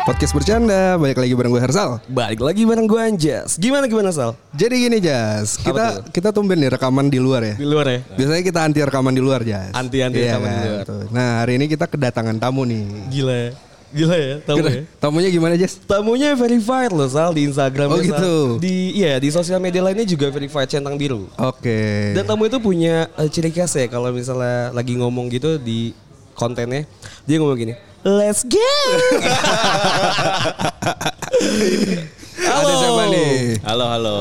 Podcast bercanda, balik lagi bareng gue Hersal. Balik lagi bareng gue Anjas. Gimana gimana Sal? Jadi gini Jas, kita kita tumben nih rekaman di luar ya. Di luar ya? Biasanya kita anti rekaman di luar Jas. Anti-anti Iya rekaman di kan? luar. Tuh. Nah hari ini kita kedatangan tamu nih. Gila ya. Gila ya, tamu Keda- ya. Tamunya gimana Jas? Tamunya verified loh Sal di Instagram Oh, gitu. Di iya, di sosial media lainnya juga verified centang biru. Oke. Dan tamu itu punya eh, ciri khas ya kalau misalnya lagi ngomong gitu di kontennya dia ngomong gini. Let's go. Ada siapa nih? Halo, halo.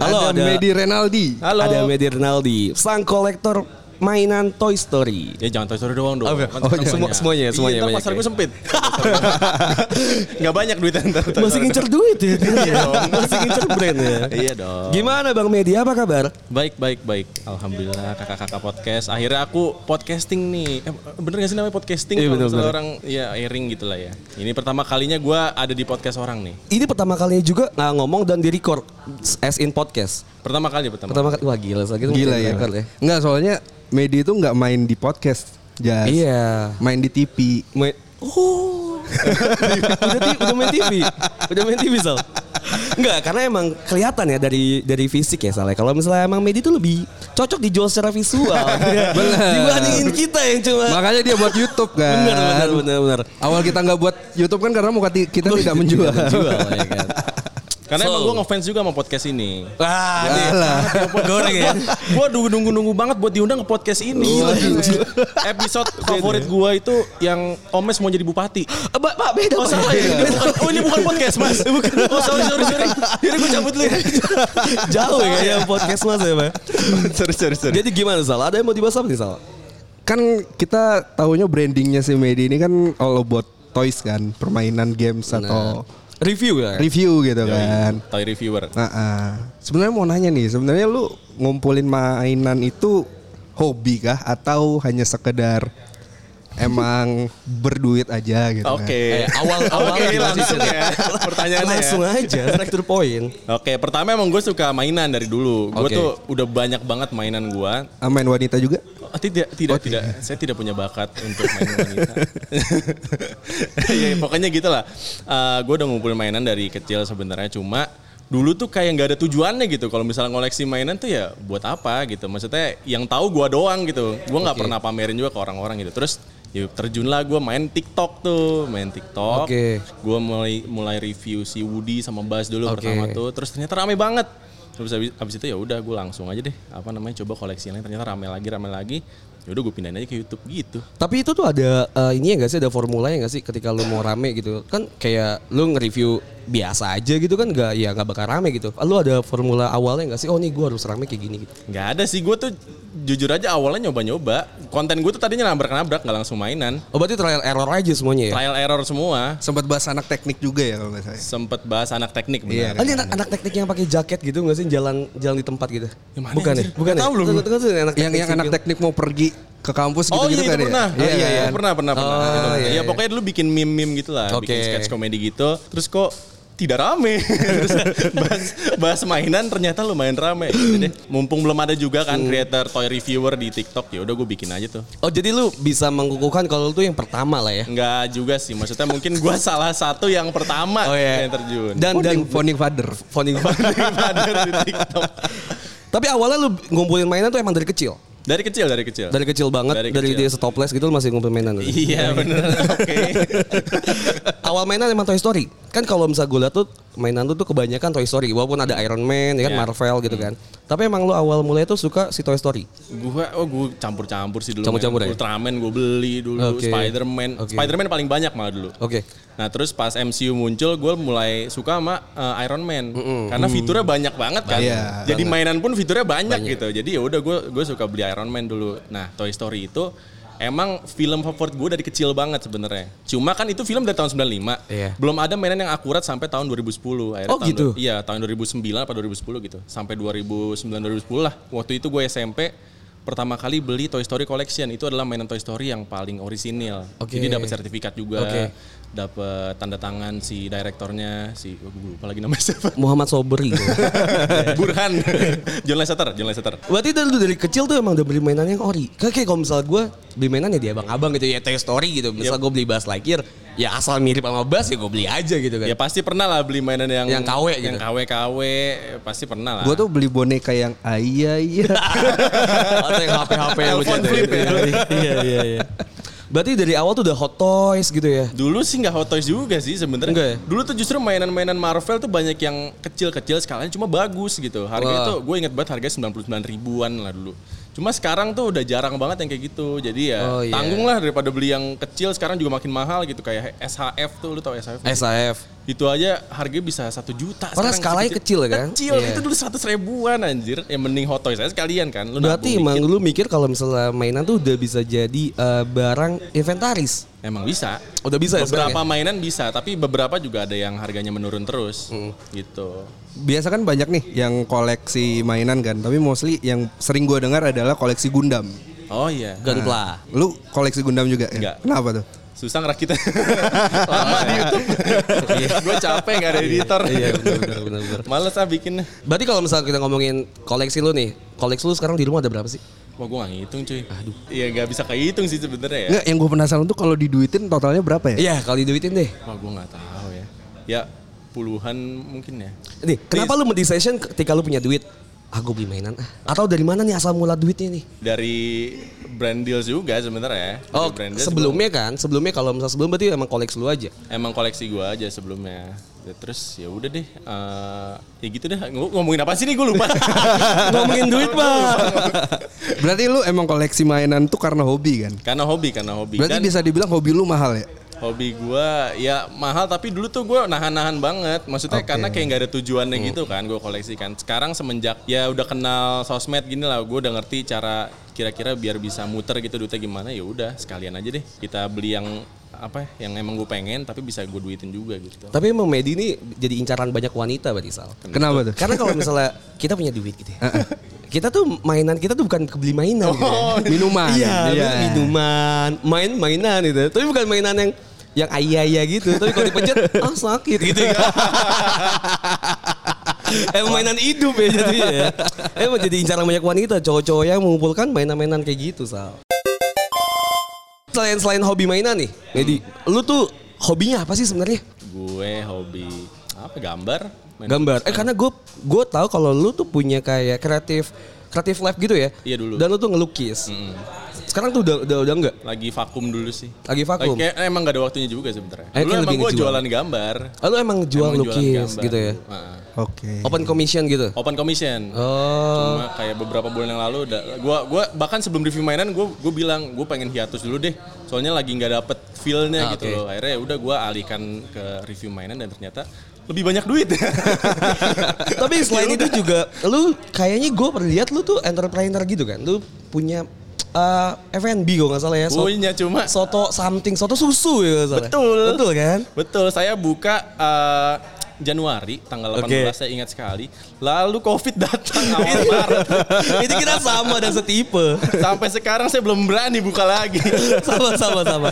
Halo, ada, ada- Ah, Medi Renaldi. Halo. Ada Medi Rinaldi, sang kolektor mainan Toy Story. Ya jangan Toy Story doang dong. Oh, iya. Kan Oh, semuanya. iya. Semua- semuanya, Iya, semuanya, ntar banyak pasar ya. gue sempit. Gak banyak duitnya ntar. Toy Masih Story. ngincer duit ya. Masih ngincer brand ya. Iya dong. Gimana Bang Medi, apa kabar? Baik, baik, baik. Alhamdulillah kakak-kakak podcast. Akhirnya aku podcasting nih. Eh, bener gak sih namanya podcasting? Iya, Kalau bener, misalnya bener. orang ya airing gitu lah ya. Ini pertama kalinya gue ada di podcast orang nih. Ini pertama kalinya juga nah, ngomong dan di-record as in podcast. Pertama kali, pertama. Pertama kali, wah gila, sakit Gila ya. Enggak soalnya Medi itu nggak main di podcast Jas. Iya. Main di TV. Main, oh. udah, ti- udah main TV, udah main TV Sal. Enggak, karena emang kelihatan ya dari dari fisik ya Sal. ya. Kalau misalnya emang Medi itu lebih cocok dijual secara visual. Bener. Dibandingin kita yang cuma. Makanya dia buat YouTube kan. Bener, bener, bener, bener. Awal kita nggak buat YouTube kan karena muka ti- kita tidak menjual. Tidak menjual, ya kan. Karena So. emang gue ngefans juga sama podcast ini. Wah, ini Alah. goreng Iya. ya. gue nunggu-nunggu banget buat diundang ke podcast ini. Episode favorit gue itu yang Omes mau jadi bupati. Eh, Pak, Pak, beda Oh Pak. salah ya? Ini bukan- oh ini bukan podcast mas. Bukan. Oh sorry sorry sorry. Jadi gue cabut ya. dulu. Jauh ya kayaknya podcast mas ya, Pak. sorry sorry sorry. Jadi gimana Sal? Ada yang mau dibahas apa nih Sal? kan kita tahunya brandingnya si Medi ini kan all about toys kan, permainan games atau Review ya? review gitu kan. Toy reviewer. Nah, ah. sebenarnya mau nanya nih, sebenarnya lu ngumpulin mainan itu hobi kah atau hanya sekedar emang berduit aja gitu kan? Oke. Eh, awal awal Oke langsung ya. Pertanyaannya ya. langsung aja straight to the point. Oke pertama emang gue suka mainan dari dulu. Gue Oke. tuh udah banyak banget mainan gue. Ah, main wanita juga? Oh, tidak tidak tidak. Saya tidak punya bakat untuk main wanita. ya, pokoknya gitulah. Eh gue udah ngumpulin mainan dari kecil sebenarnya cuma dulu tuh kayak nggak ada tujuannya gitu kalau misalnya ngoleksi mainan tuh ya buat apa gitu maksudnya yang tahu gua doang gitu gua nggak pernah pamerin juga ke orang-orang gitu terus ya terjunlah gua main TikTok tuh main TikTok Oke. gua mulai mulai review si Woody sama Buzz dulu Oke. pertama tuh terus ternyata rame banget terus habis, habis itu ya udah gue langsung aja deh apa namanya coba koleksi yang lain ternyata rame lagi rame lagi ya udah gue pindahin aja ke YouTube gitu Tapi itu tuh ada eh, ini ya gak sih ada formulanya gak sih ketika lu mau rame gitu kan kayak lu nge-review biasa aja gitu kan gak ya gak bakal rame gitu. Lu ada formula awalnya gak sih? Oh nih gue harus rame kayak gini gitu. nggak ada sih gue tuh jujur aja awalnya nyoba-nyoba konten gue tuh tadinya nabrak-nabrak nggak langsung mainan Oh berarti trial error aja semuanya ya? trial error semua Sempat bahas anak teknik juga ya kalau nggak salah. sempet bahas anak teknik Iya benar Ah, ini anak, anak teknik yang pakai jaket gitu gak sih jalan jalan di tempat gitu? Yang mana, bukan ya? anjir? Bukan ya? Tahu lu. Tunggu, tunggu, tunggu, anak gitu. Yang yang anak sipil. teknik mau pergi ke kampus Oh gitu-gitu iya, itu kan ya? pernah. Iya, Oh, iya, kan? iya, pernah, pernah, pernah. Oh, Gitu. iya, Ya, iya. pokoknya dulu bikin meme-meme gitu lah, bikin Oke. sketch komedi gitu. Terus kok tidak rame. Terus bahas, bahas mainan ternyata lumayan rame. Gitu deh. Mumpung belum ada juga Hmm. kan creator toy reviewer di TikTok, ya udah gue bikin aja tuh. Oh jadi lu bisa mengukuhkan kalau lu tuh yang pertama lah ya? Enggak juga sih, maksudnya mungkin gue salah satu yang pertama Oh, iya. Ah, yang terjun. Dan dan Founding- founding father. founding Daripada di TikTok. Tapi awalnya lu ngumpulin mainan tuh emang dari kecil. Dari kecil, dari kecil. Dari kecil banget dari, Dari kecil. dia setoples gitu lu masih ngumpulin mainan. Iya bener, oke. Awal mainan emang Toy Story. Kan kalau misalnya gue liat tuh mainan tuh, tuh kebanyakan Toy Story walaupun ada Iron Man ya kan Ya. Marvel gitu kan. Tapi emang lu awal mulai tuh suka si Toy Story. Gua oh gua campur-campur sih dulu. Campur-campur men. ya? Ultraman gua beli dulu, Oke. Spider-Man. Oke. Spider-Man paling banyak malah dulu. Oke. Nah, terus pas MCU muncul gua mulai suka sama uh, Iron Man karena fiturnya banyak banget kan. Iya, Jadi mainan pun fiturnya banyak, gitu. Jadi ya udah gua gua suka beli Iron Man dulu. Nah, Toy Story itu Emang film favorit gue dari kecil banget sebenarnya. Cuma kan itu film dari tahun 95. Iya. Belum ada mainan yang akurat sampai tahun 2010. Akhirnya Oh, tahun gitu? du- Iya tahun 2009 atau 2010 gitu sampai 2009 2010 lah waktu itu gue SMP pertama kali beli Toy Story Collection itu adalah mainan Toy Story yang paling orisinil. Oke. Jadi dapat sertifikat juga, Oke. dapat tanda tangan si direktornya, si oh, gue lupa lagi namanya siapa. Muhammad Sobri. Burhan, John Lasseter, John Lasseter. Berarti dari, dari kecil tuh emang udah beli mainan yang ori. Kan Kayak, kayak kalau misalnya gue beli mainan ya di abang-abang gitu ya Toy Story gitu. Misal gue beli Buzz Lightyear ya asal mirip sama Buzz ya gue beli aja gitu kan. Ya pasti pernah lah beli mainan yang Yang KW gitu. yang KW KW pasti pernah lah. Gue tuh beli boneka yang ayah iya. Atau yang HP-HP yang Telepon lucu flip ya. Iya iya iya. Berarti dari awal tuh udah Hot Toys gitu ya. Dulu sih nggak Hot Toys juga sih sebenarnya. Nggak ya? Dulu tuh justru mainan-mainan Marvel tuh banyak yang kecil-kecil skalanya cuma bagus gitu. Harganya Wah. tuh gue inget banget harganya 99 ribuan lah dulu. Cuma sekarang tuh udah jarang banget yang kayak gitu. Jadi ya Oh, iya. tanggung lah daripada beli yang kecil sekarang juga makin mahal gitu kayak SHF tuh lu tau SHF? SAF. Itu aja harganya bisa satu juta. Padahal sekarang skalanya kecil ya kan? Kecil Iya. itu dulu 100 ribuan anjir. Ya mending Hot Toys aja sekalian kan. Lu Berarti nabung emang dikit. lu mikir kalau misalnya mainan tuh udah bisa jadi eh, barang inventaris. Emang bisa. Udah bisa ya Beberapa sekarang mainan bisa, tapi beberapa juga ada yang harganya menurun terus gitu. Biasa kan banyak nih yang koleksi mainan kan, tapi mostly yang sering gue dengar adalah koleksi Gundam. Oh iya. Gunpla. Lu koleksi Gundam juga ya? Enggak. Kenapa tuh? Susah Iya. ngerakitnya. Lama di Youtube. Gue capek gak ada editor. Iya benar benar benar benar. Males ah bikin. Berarti kalau misalnya kita ngomongin koleksi lu nih, koleksi lu sekarang di rumah ada berapa sih? Wah gue gak ngitung cuy. Aduh. Iya gak bisa kehitung sih sebenarnya ya. Enggak, yang gue penasaran tuh kalau diduitin totalnya berapa ya? Iya, kalau diduitin deh. Wah gue gak tahu ya. Ya puluhan mungkin ya. Nih, kenapa lu mendesain ketika lu punya duit? Ah, gue beli mainan ah. Atau dari mana nih asal mula duitnya nih? Dari brand deals juga sebenarnya. Dari Oh, brand deals sebelumnya kan, sebelumnya kalau misalnya sebelum berarti emang koleksi lu aja. emang koleksi gue aja sebelumnya Ya, terus ya udah deh eh, ya gitu deh Ng- ngomongin apa sih nih gue lupa Ngomongin duit, Pak. Berarti lu emang koleksi mainan tuh karena hobi kan? karena hobi karena hobi Berarti Dan bisa dibilang hobi lu mahal ya? hobi gue ya mahal tapi dulu tuh gue nahan-nahan banget maksudnya karena kayak nggak ada tujuannya gitu kan gue koleksikan sekarang semenjak ya udah kenal sosmed gini lah gue udah ngerti cara kira-kira biar bisa muter gitu duitnya gimana ya udah sekalian aja deh kita beli yang apa ya, yang emang gue pengen tapi bisa gue duitin juga gitu Tapi emang Medi ini jadi incaran banyak wanita berarti Sal. Kenapa tuh? Karena kalau misalnya kita punya duit gitu ya. kita tuh mainan kita tuh bukan kebeli mainan gitu ya. Minuman. Iya, minuman, main mainan gitu. Tapi bukan mainan yang yang ayah-ayah gitu. Tapi kalau dipencet, ah sakit gitu ya. Emang mainan hidup ya jadinya ya. Emang jadi incaran banyak wanita, cowok-cowok yang mengumpulkan mainan-mainan kayak gitu, Sal. Selain selain hobi mainan nih, Medi, lu tuh hobinya apa sih sebenarnya? gue hobi apa gambar main ah. Gambar. Eh karena gue gue tahu kalau lu tuh punya kayak kreatif kreatif life gitu ya. Iya dulu. Dan lu tuh ngelukis. Sekarang tuh udah udah udah enggak? lagi vakum dulu sih. Lagi vakum. Kayak eh, emang gak ada waktunya juga sebenarnya. Eh, Dulu kayak emang lebih gue ngejual. jualan gambar. Ah, Lu emang jual Emang lukis gambar. gitu ya? Heeh. Oke. Open commission gitu? Open commission. Oh. Cuma kayak beberapa bulan yang lalu udah gua gua bahkan sebelum review mainan gua gua bilang gua pengen hiatus dulu deh. Soalnya lagi nggak dapet Ah, feel-nya gitu oke. loh. Akhirnya ya udah gua alihkan ke review mainan dan ternyata lebih banyak duit. Tapi selain Iya, itu juga, lu kayaknya gue pernah lihat lu tuh entrepreneur gitu kan? Lu punya eh, F&B kalau nggak salah ya? so- Punya cuma Soto something, soto susu ya kalau nggak salah. Betul. Betul kan? Betul, saya buka eh, Januari tanggal 18 Oke. saya ingat sekali. Lalu Covid datang awal Maret. itu kita sama dan setipe. Sampai sekarang saya belum berani buka lagi. sama sama sama.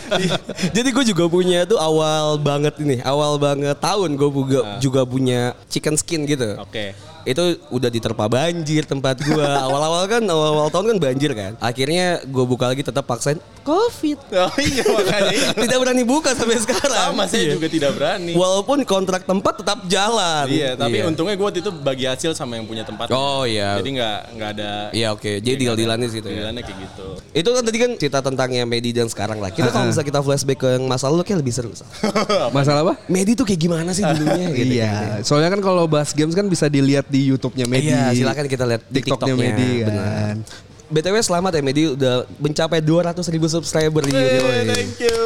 Jadi gue juga punya tuh awal banget ini, awal banget tahun gue juga juga punya chicken skin gitu. Ah. Oke. itu udah diterpa banjir tempat gua awal-awal kan awal-awal tahun kan banjir kan akhirnya gua buka lagi tetap paksain covid Oh iya makanya itu. tidak berani buka sampai sekarang Sama saya Iya. juga tidak berani. walaupun kontrak tempat tetap jalan Iya, tapi untungnya gue waktu itu bagi hasil sama yang punya tempat. oh iya Jadi nggak nggak ada. iya oke jadi deal dealannya situ ya Pilihannya kayak gitu. itu kan tadi kan cerita tentangnya Medi dan sekarang lah kita kalau misalnya kita flashback ke yang masa lalu kayak lebih seru Sal. Masalah apa? Medi tuh kayak gimana sih dulunya gitu Iya, soalnya kan kalau bahas games kan bisa dilihat di YouTube-nya Medi. Iya, silakan kita lihat di TikTok-nya TikTok-nya, Medi kan. benar. BTW selamat ya Medi udah mencapai 200 ribu subscriber di YouTube. Eh, thank you.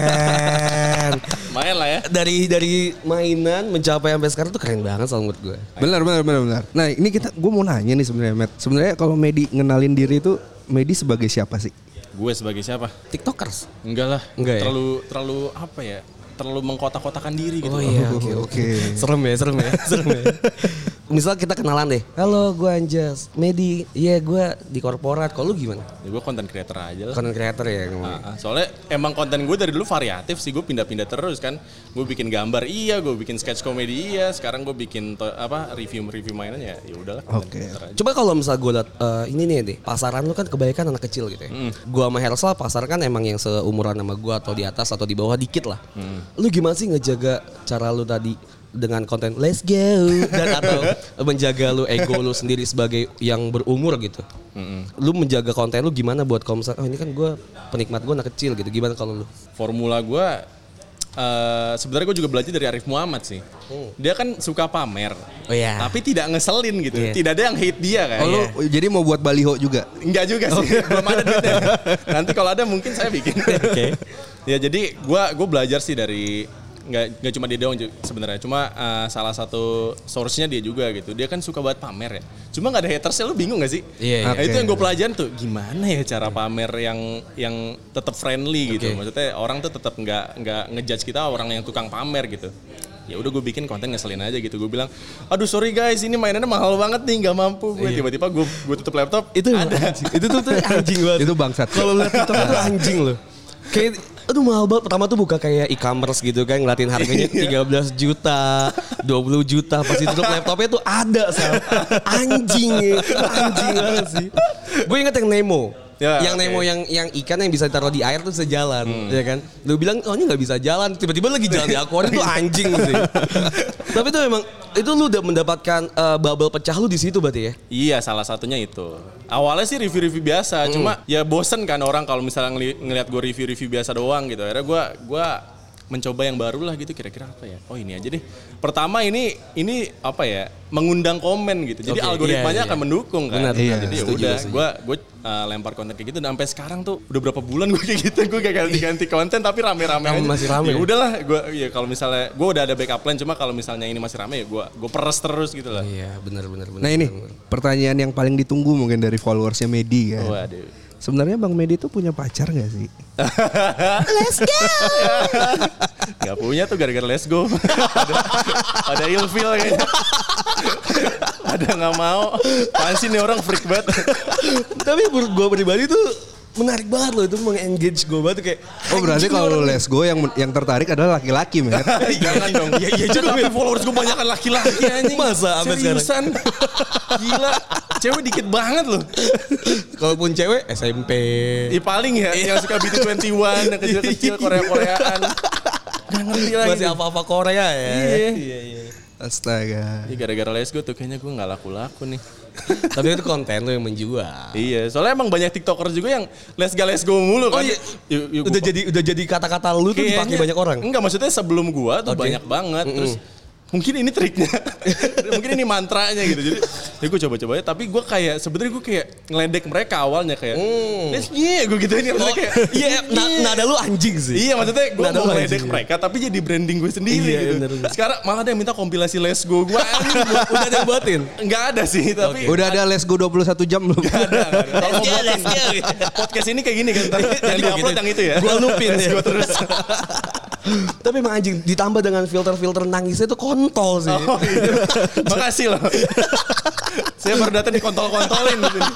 Keren. Main lah ya. Dari dari mainan mencapai sampai sekarang tuh keren banget soal menurut gue. Benar, benar, benar, benar. Nah, ini kita gue mau nanya nih sebenarnya, Matt. Sebenarnya kalau Medi ngenalin diri itu Medi sebagai siapa sih? Gue sebagai siapa? TikTokers. Enggak lah. Enggak ya? terlalu terlalu apa ya? terlalu mengkotak-kotakan diri gitu. Oh loh. iya, Oh, oke oke. oke. Serem ya, serem ya, serem ya. Misal kita kenalan deh. Halo, gue Anjas. Medi, iya gue di korporat. Kalau lu gimana? Ya gue konten creator aja lah. Content creator ya ngomongnya. Ah, ah. soalnya emang konten gue dari dulu variatif sih gue pindah-pindah terus kan gue bikin gambar iya gue bikin sketch komedi iya sekarang gue bikin to- apa review review mainan ya ya udahlah konten Oke. creator aja. Coba kalau misal gue liat, eh, ini nih deh, pasaran lu kan kebanyakan anak kecil gitu ya. Gue sama Hersal pasar kan emang yang seumuran sama gue atau di atas atau di bawah dikit lah. Lu gimana sih ngejaga cara lu tadi dengan konten let's go dan atau menjaga lu ego lu sendiri sebagai yang berumur gitu. Lu menjaga konten lu gimana buat kalau misal, oh ini kan gue penikmat gue anak kecil gitu. Gimana kalau lu? formula gue eh sebenarnya gue juga belajar dari Arif Muhammad sih dia kan suka pamer Oh iya. tapi tidak ngeselin gitu Iya. tidak ada yang hate dia kan Oh, lu jadi mau buat baliho juga? Enggak juga sih, belum ada duitnya. Nanti kalau ada mungkin saya bikin. Oke. ya jadi gua gua belajar sih dari nggak nggak cuma dia doang ju- sebenarnya cuma eh, salah satu source-nya dia juga gitu dia kan suka banget pamer ya cuma nggak ada hatersnya lu bingung gak sih Iya, Nah, iya. itu yang gue pelajarin tuh gimana ya cara pamer yang yang tetap friendly gitu Oke. maksudnya orang tuh tetap nggak nggak ngejudge kita orang yang tukang pamer gitu ya udah gue bikin konten ngeselin aja gitu gue bilang aduh sorry guys ini mainannya mahal banget nih nggak mampu gue Iya. tiba-tiba gue gue tutup laptop Itu ada. Itu tuh, tuh anjing banget. Itu bangsat. Kalau lihat TikTok itu anjing loh. Kayak aduh mahal banget. Pertama tuh buka kayak e-commerce gitu kan ngeliatin harganya Iya. 13 juta, 20 juta. Pas itu laptopnya tuh ada Sal. Anjing, anjing banget sih. Gue inget yang Nemo. Ya, yang oke. Hmm. Nemo yang yang ikan yang bisa ditaruh di air tuh bisa jalan, ya kan? Lu bilang oh ini nggak bisa jalan, tiba-tiba lagi jalan di akuarium tuh anjing sih. Tapi itu memang itu lu udah mendapatkan eh, bubble pecah lu di situ berarti ya? Iya salah satunya itu. Awalnya sih review-review biasa, Hmm. cuma ya bosen kan orang kalau misalnya ngeli- ngelihat gue review-review biasa doang gitu. Akhirnya gue gua mencoba yang baru lah gitu kira-kira apa ya. Oh ini aja deh. Pertama ini ini apa ya mengundang komen gitu. Jadi Oke, algoritmanya iya, iya. akan mendukung kan. Benar, benar. Jadi ya Setuju, udah setuju. gue gue lempar konten kayak gitu dan sampai sekarang tuh udah berapa bulan gue kayak gitu gue kayak ganti-ganti konten tapi rame-rame Tapi aja. masih rame. Ya udahlah gue ya kalau misalnya gue udah ada backup plan cuma kalau misalnya ini masih rame ya gue gue peres terus gitu lah. Iya, benar-benar. Nah ini pertanyaan yang paling ditunggu mungkin dari followersnya Medi kan. Waduh. Sebenarnya Bang Medi tuh punya pacar gak sih? Gak punya tuh gara-gara let's go. ada, ada ilfil kayaknya. ada nggak mau. Apaan sih nih orang freak banget. Tapi menurut gue pribadi tuh menarik banget loh itu mengengage gue banget tuh kayak Oh berarti anjing kalau nih lu let's go yang yang tertarik adalah laki-laki men. Eh, Jangan dong. Iya iya juga. Tapi followers gue banyak kan laki-laki anjing. Masa sampai sekarang? Seriusan. Gila. Cewek dikit banget loh. orang- kalaupun cewek SMP Ya paling ya yang suka BT21 yang kecil-kecil Korea-Koreaan. Gak Iya. ngerti lagi. masih apa-apa Korea ya Iya. Iya iya. Astaga. Iya. Ini gara-gara let's go tuh kayaknya gue nggak laku-laku nih. tapi itu konten lo yang menjual Iya, soalnya emang banyak tiktoker juga yang let's go let's go mulu oh kan. iya Yuk, yuk, udah gua- jadi udah jadi kata-kata lu tuh dipakai Kayaknya- banyak orang Enggak, maksudnya sebelum gua tuh Oke. banyak banget. Terus mungkin ini triknya, mungkin ini mantranya gitu. Jadi ya gue coba-coba aja. Tapi gua kayak sebenarnya gua kayak ngeledek mereka awalnya kayak Mm. let's go gue gitu ini maksudnya kayak iya na nada lu anjing sih Iya maksudnya gue Nada mau lu ngeledek anjing. mereka tapi jadi branding gue sendiri Iya, gitu. bener, bener. Sekarang malah ada yang minta kompilasi Let's Go gue. udah ada yang buatin Enggak ada sih tapi Udah ada let's go 21 jam belum? ada. Let's Kalau mau go, buatin let's go. podcast ini kayak gini kan. Tapi yang Jadi di gua upload gitu. yang itu ya. Gua lupin ya. Gua terus. tapi emang anjing ditambah dengan filter-filter nangisnya tuh kontol sih Oh, iya. Makasih loh. Saya baru datang dikontol-kontolin. di sini.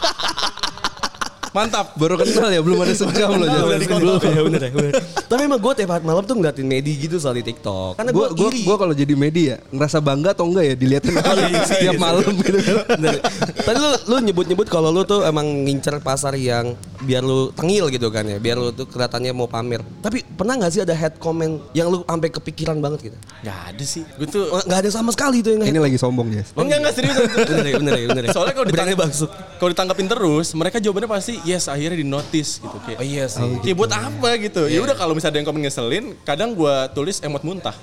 Mantap. Baru kenal ya belum ada sejam loh. Kenal, udah dikontrol. Belum, ya, bener, ya, bener. Tapi emang gue tiap hari malam tuh ngeliatin Medi gitu soal di TikTok. Karena Gue gue gua, iri. Iya, gua kalau jadi Medi ya ngerasa bangga atau enggak ya dilihatin orang Iya, setiap malam gitu kan. Bener. Tadi lu, lu nyebut-nyebut kalau lu tuh emang ngincer pasar yang biar lu tengil gitu kan ya. Biar lu tuh kelihatannya mau pamer. Tapi pernah gak sih ada head comment yang lu sampai kepikiran banget gitu? Gak ada sih. Gue tuh Gak ada sama sekali tuh yang Ini head. lagi sombong ya. Oh, Enggak, enggak serius. Bener ya, bener ya, bener ya. Soalnya kalau Berani ditang- bangsat. kalau ditangkapin terus, mereka jawabannya pasti yes akhirnya di notice gitu Oh kayak. iya sih. Ya buat apa gitu? Iya. Ya udah kalau misalnya ada yang komen ngeselin, kadang gua tulis emot muntah.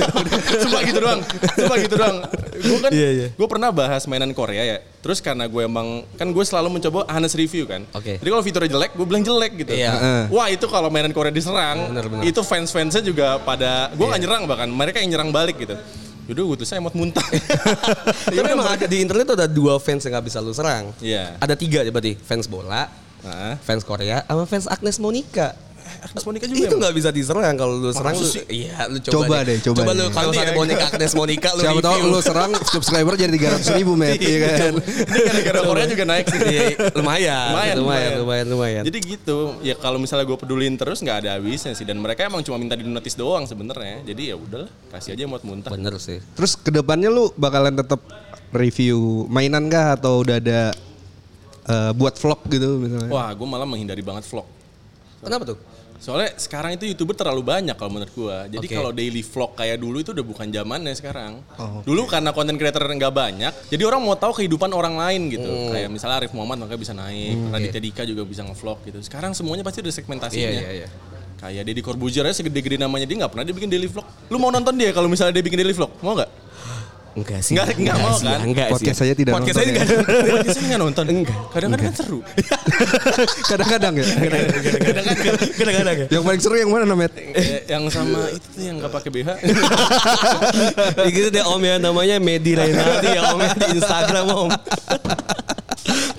Cuma gitu doang. Cuma gitu doang. Gua kan Iya, iya. gua pernah bahas mainan Korea ya. Terus karena gue emang kan gue selalu mencoba honest review kan. Oke. Jadi kalau fiturnya jelek, gue bilang jelek gitu. Iya. Heeh. Wah, itu kalau mainan Korea diserang, Bener, Iya. bener. itu fans-fansnya juga pada gua nggak nyerang bahkan mereka yang nyerang balik gitu. Yaudah gue tulisnya emot muntah. Tapi Ya udah, emang ada di internet tuh ada dua fans yang gak bisa lu serang. Iya. Ada tiga ya berarti. Fans bola, Nah. fans Korea, sama fans Agnes Monica. Agnes Monica juga Itu emang? nggak bisa diserang kalau lu serang. Maksud Lu, sih? iya, lu coba, Coba deh, coba lu deh. kalau Nanti ada ya. boneka Agnes Monica lu Siapa tahu lu serang subscriber jadi 300 ribu, Matt. Iya kan? Ini gara-gara korea juga naik sih. Iya, lumayan, Ah, lumayan, Lumayan, lumayan, lumayan. lumayan, lumayan. Jadi gitu, ya kalau misalnya gue pedulin terus nggak ada habisnya sih. Dan mereka emang cuma minta di notice doang sebenarnya. Jadi ya udahlah, kasih aja muat muntah. bener sih. Terus kedepannya lu bakalan tetap review mainan kah atau udah ada eh, buat vlog gitu Oh. misalnya? Wah, gue malah menghindari banget vlog. Kenapa tuh? Soalnya sekarang itu youtuber terlalu banyak kalau menurut gua. Jadi Oke. kalau daily vlog kayak dulu itu udah bukan zamannya sekarang. Oh, Dulu karena konten creator nggak banyak, jadi orang mau tahu kehidupan orang lain gitu. Oh. Kayak misalnya Arif Muhammad makanya bisa naik, Hmm, Raditya Dika juga bisa ngevlog gitu. Sekarang semuanya pasti ada segmentasinya. iya. Kayak Deddy Corbuzier aja segede-gede namanya dia nggak pernah dia bikin daily vlog. Lu mau nonton dia kalau misalnya dia bikin daily vlog? Mau nggak? Enggak sih. Enggak, enggak mau sih, kan? Enggak Podcast sih. saya tidak Podcast saya nonton nggak ya. podcast saya nggak nonton. Kadang-kadang kan seru. Kadang-kadang ya. Iya. Kadang-kadang. Kadang-kadang ya. yang paling seru yang mana, Matt? Eh, yang sama itu tuh yang nggak pakai BH. Ya gitu deh om ya namanya Medi Renaldi ya om ya, di Instagram om.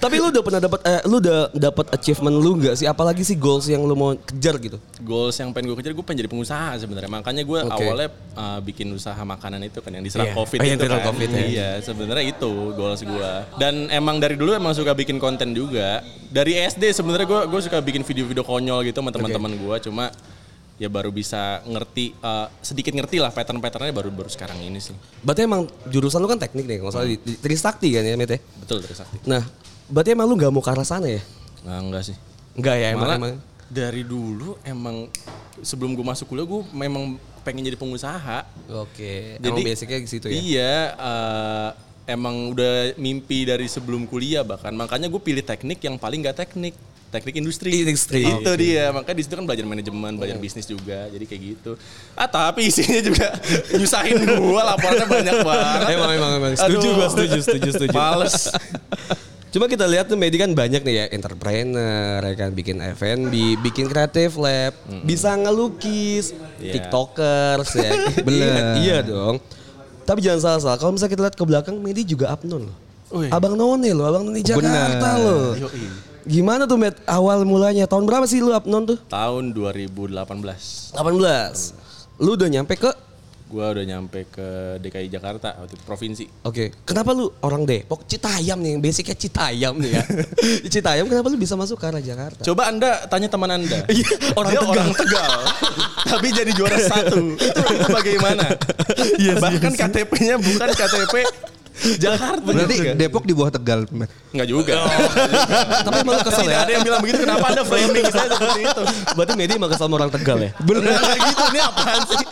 Tapi lu udah pernah dapat eh, lu udah dapat achievement lu nggak sih? Apalagi sih goals yang lu mau kejar gitu? goals yang pengen gue kejar gue pengen jadi pengusaha sebenarnya makanya gue Oke. awalnya uh, bikin usaha makanan itu kan yang Iya. diserang covid Oh, yang itu diserang kan COVID, ya. iya sebenarnya itu goals gue dan emang dari dulu emang suka bikin konten juga dari SD sebenarnya gue gue suka bikin video-video konyol gitu sama teman-teman gue cuma ya baru bisa ngerti uh, sedikit ngerti lah pattern-patternnya baru baru sekarang ini sih Berarti emang jurusan lu kan teknik nih, kalau nggak salah di, di Trisakti kan ya, Met ya? betul dari sakti Nah, berarti emang lu nggak mau ke arah sana ya? nah, enggak sih Enggak ya emang, Malah emang. dari dulu emang sebelum gue masuk kuliah gue memang pengen jadi pengusaha Oke, emang basicnya di situ ya. Iya, eh, emang udah mimpi dari sebelum kuliah bahkan. Makanya gue pilih teknik yang paling gak teknik, teknik industri. Industri. Iya. Itu dia. Makanya di situ kan belajar manajemen, belajar bisnis juga. Jadi kayak gitu. Ah tapi isinya juga nyusahin gue, laporannya banyak banget. Emang, emang, emang. Setuju Aduh. gua, setuju, setuju, setuju. Males. Cuma kita lihat tuh Medi kan banyak nih ya entrepreneur, ya kan bikin F&B, bikin creative lab, bisa ngelukis, Iya. tiktokers ya. Bener. iya dong. Tapi jangan salah-salah, kalau misalnya kita lihat ke belakang Medi juga abnon loh. Abang None loh, Abang None Bener. Jakarta loh. Gimana tuh Med awal mulanya? Tahun berapa sih lu abnon tuh? Tahun 2018. 18. Lu udah nyampe ke Gue udah nyampe ke DKI Jakarta, waktu itu provinsi. Oke, kenapa lu orang Depok Citayam nih, basicnya Citayam nih ya. Citayam kenapa lu bisa masuk ke arah Jakarta? Coba anda tanya teman anda. Iya, orang Dia Tegal. orang Tegal. tapi jadi juara satu. Itu, itu bagaimana? Bahkan KTP-nya bukan KTP Jakarta. Berarti Depok di bawah Tegal, Matt. Enggak juga. Tapi emang lu kesel Tidak ya? ada yang bilang begitu. Kenapa anda framing saya seperti itu? Berarti Medi emang kesel sama orang Tegal ya? Benar gitu ini apaan sih?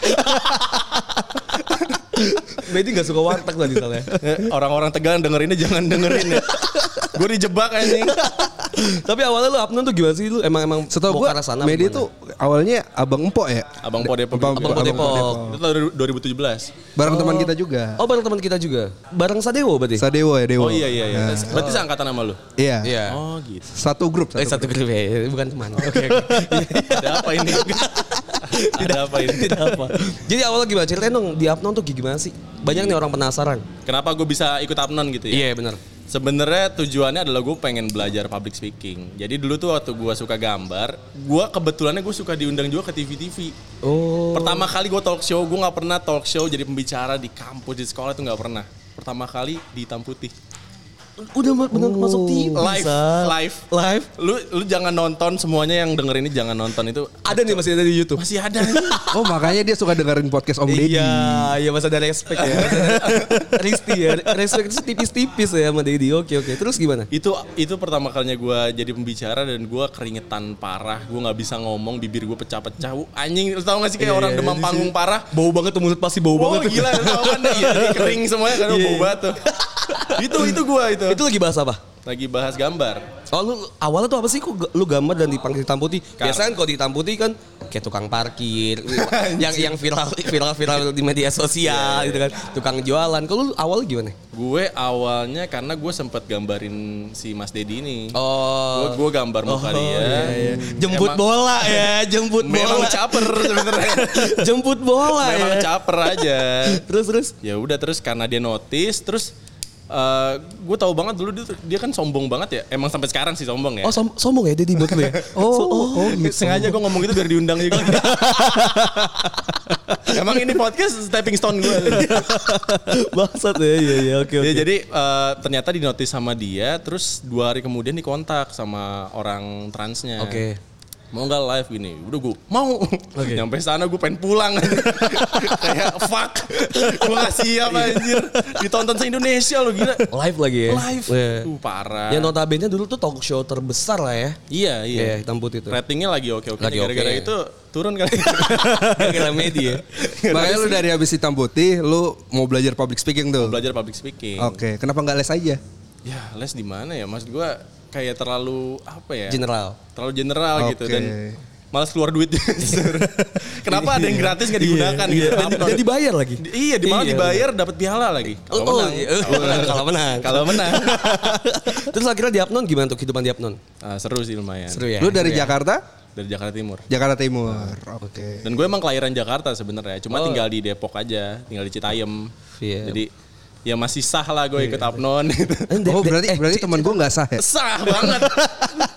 Medi gak suka warteg lah misalnya. Eh, Orang-orang Tegal yang dengerinnya jangan dengerin ya. Gue dijebak anjing. Tapi awalnya lu Abnon tuh gimana sih? Lu emang emang Setahu mau gua ke arah sana Medi gimana? tuh awalnya Abang Empok ya? Abang Po Depok. Abang Abang Po Abang Po Depok. Itu tahun 2017. Bareng teman kita juga. Oh bareng teman kita juga. Bareng Sadewo berarti? Sadewo ya, Dewo. Oh iya iya iya. Berarti seangkatan sama lu. Iya. Iya. Oh gitu. Satu grup, Eh satu. satu grup ya, bukan teman. Oke. oke. Ada apa ini? Ada apa ini? Tidak apa. Jadi awalnya gimana? Ceritain dong di Abnon tuh gimana sih? Banyak nih orang penasaran. Iya, Kenapa gue bisa ikut Apnon gitu ya? benar. Sebenarnya tujuannya adalah gue pengen belajar public speaking. Jadi dulu tuh waktu gue suka gambar, gue kebetulannya gue suka diundang juga ke TV-TV. Oh. Pertama kali gue talk show, gue nggak pernah talk show jadi pembicara di kampus di sekolah tuh nggak pernah. Pertama kali di hitam putih. Udah benar masuk TV. Live, Sal. live. Oh, Live. Lu lu jangan nonton semuanya yang denger ini jangan nonton itu Ada nih masih ada di YouTube. masih ada. Oh makanya dia suka dengerin podcast Om Deddy. Iya, iya masa ada respect ya. Masa ada- Risti ya, respect itu tipis-tipis ya sama Dedi. Oke, oke. Terus gimana? itu itu pertama kalinya gue jadi pembicara dan gue keringetan parah. Gue nggak bisa ngomong, bibir gue pecah-pecah. Wuh, Anjing, lu tau gak sih kayak orang demam panggung parah? iya, Bau banget tuh mulut pasti bau Oh banget. gila, lu tau kan iya, jadi kering semuanya karena Iya, bau iya. banget tuh. itu itu gua itu. Itu lagi bahas apa? Lagi bahas gambar. Oh lu awalnya tuh apa sih kok ga- lu gambar dan dipanggil hitam putih? Kar- Biasanya kan kalau di hitam putih kan kayak tukang parkir yang yang viral viral viral di media sosial gitu kan. Tukang jualan. Kalau lu awal gimana? Gue awalnya karena gue sempet gambarin si Mas Dedi ini. Gue Oh. iya, gue gambar muka dia. Jemput Emang- bola ya, jemput Memang bola. caper sebenarnya. jemput bola Memang ya. caper aja. Terus terus Ya udah terus karena dia notice terus eh, gue tahu banget dulu dia, dia kan sombong banget ya. Emang sampai sekarang sih sombong ya. Oh som- sombong ya Deddy buat lu ya? Oh, oh, oh. sengaja gue ngomong gitu biar diundang juga. Emang ini podcast stepping stone gue. Bangsat ya, iya, iya, oke, oke. Ya, jadi eh, ternyata di notice sama dia, terus dua hari kemudian dikontak sama orang transnya. Oke. Mau nggak live gini? Udah gue mau. Nyampe sana gue pengen pulang. Kayak fuck. gue gak siap Iya. anjir. Ditonton se-Indonesia lo gila. Live lagi ya? Live. Iya. Tuh parah. Ya notabene dulu tuh talk show terbesar lah ya. iya, iya. Iya, hitam putih tuh. Ratingnya lagi oke-oke. Lagi oke. Gara-gara itu turun kan? kali. Gara-gara media. Makanya lu dari habis hitam putih, lu mau belajar public speaking tuh. Belajar public speaking. Oke, kenapa nggak les aja? Ya les di mana ya? Maksud gue kayak terlalu apa ya? General. terlalu general Oke. gitu dan malas keluar duit kenapa ada yang gratis nggak digunakan Iya, gitu dan, Apa? dan dibayar lagi. Di- iya di mana Iya. dibayar dapat piala lagi Oh, kalau oh, menang iya. Kalau menang. kalau menang Terus akhirnya Diapnon gimana tuh kehidupan Diapnon? Ah, seru sih lumayan Seru ya. lu dari Jakarta? dari Jakarta Timur Jakarta Timur. Oke. dan gue emang kelahiran Jakarta sebenarnya cuma tinggal di Depok aja tinggal di Citayam Oh. Iya. jadi ya masih sah lah gue ikut apnon gitu Eh, Oh, berarti berarti teman gua nggak sah ya? sah banget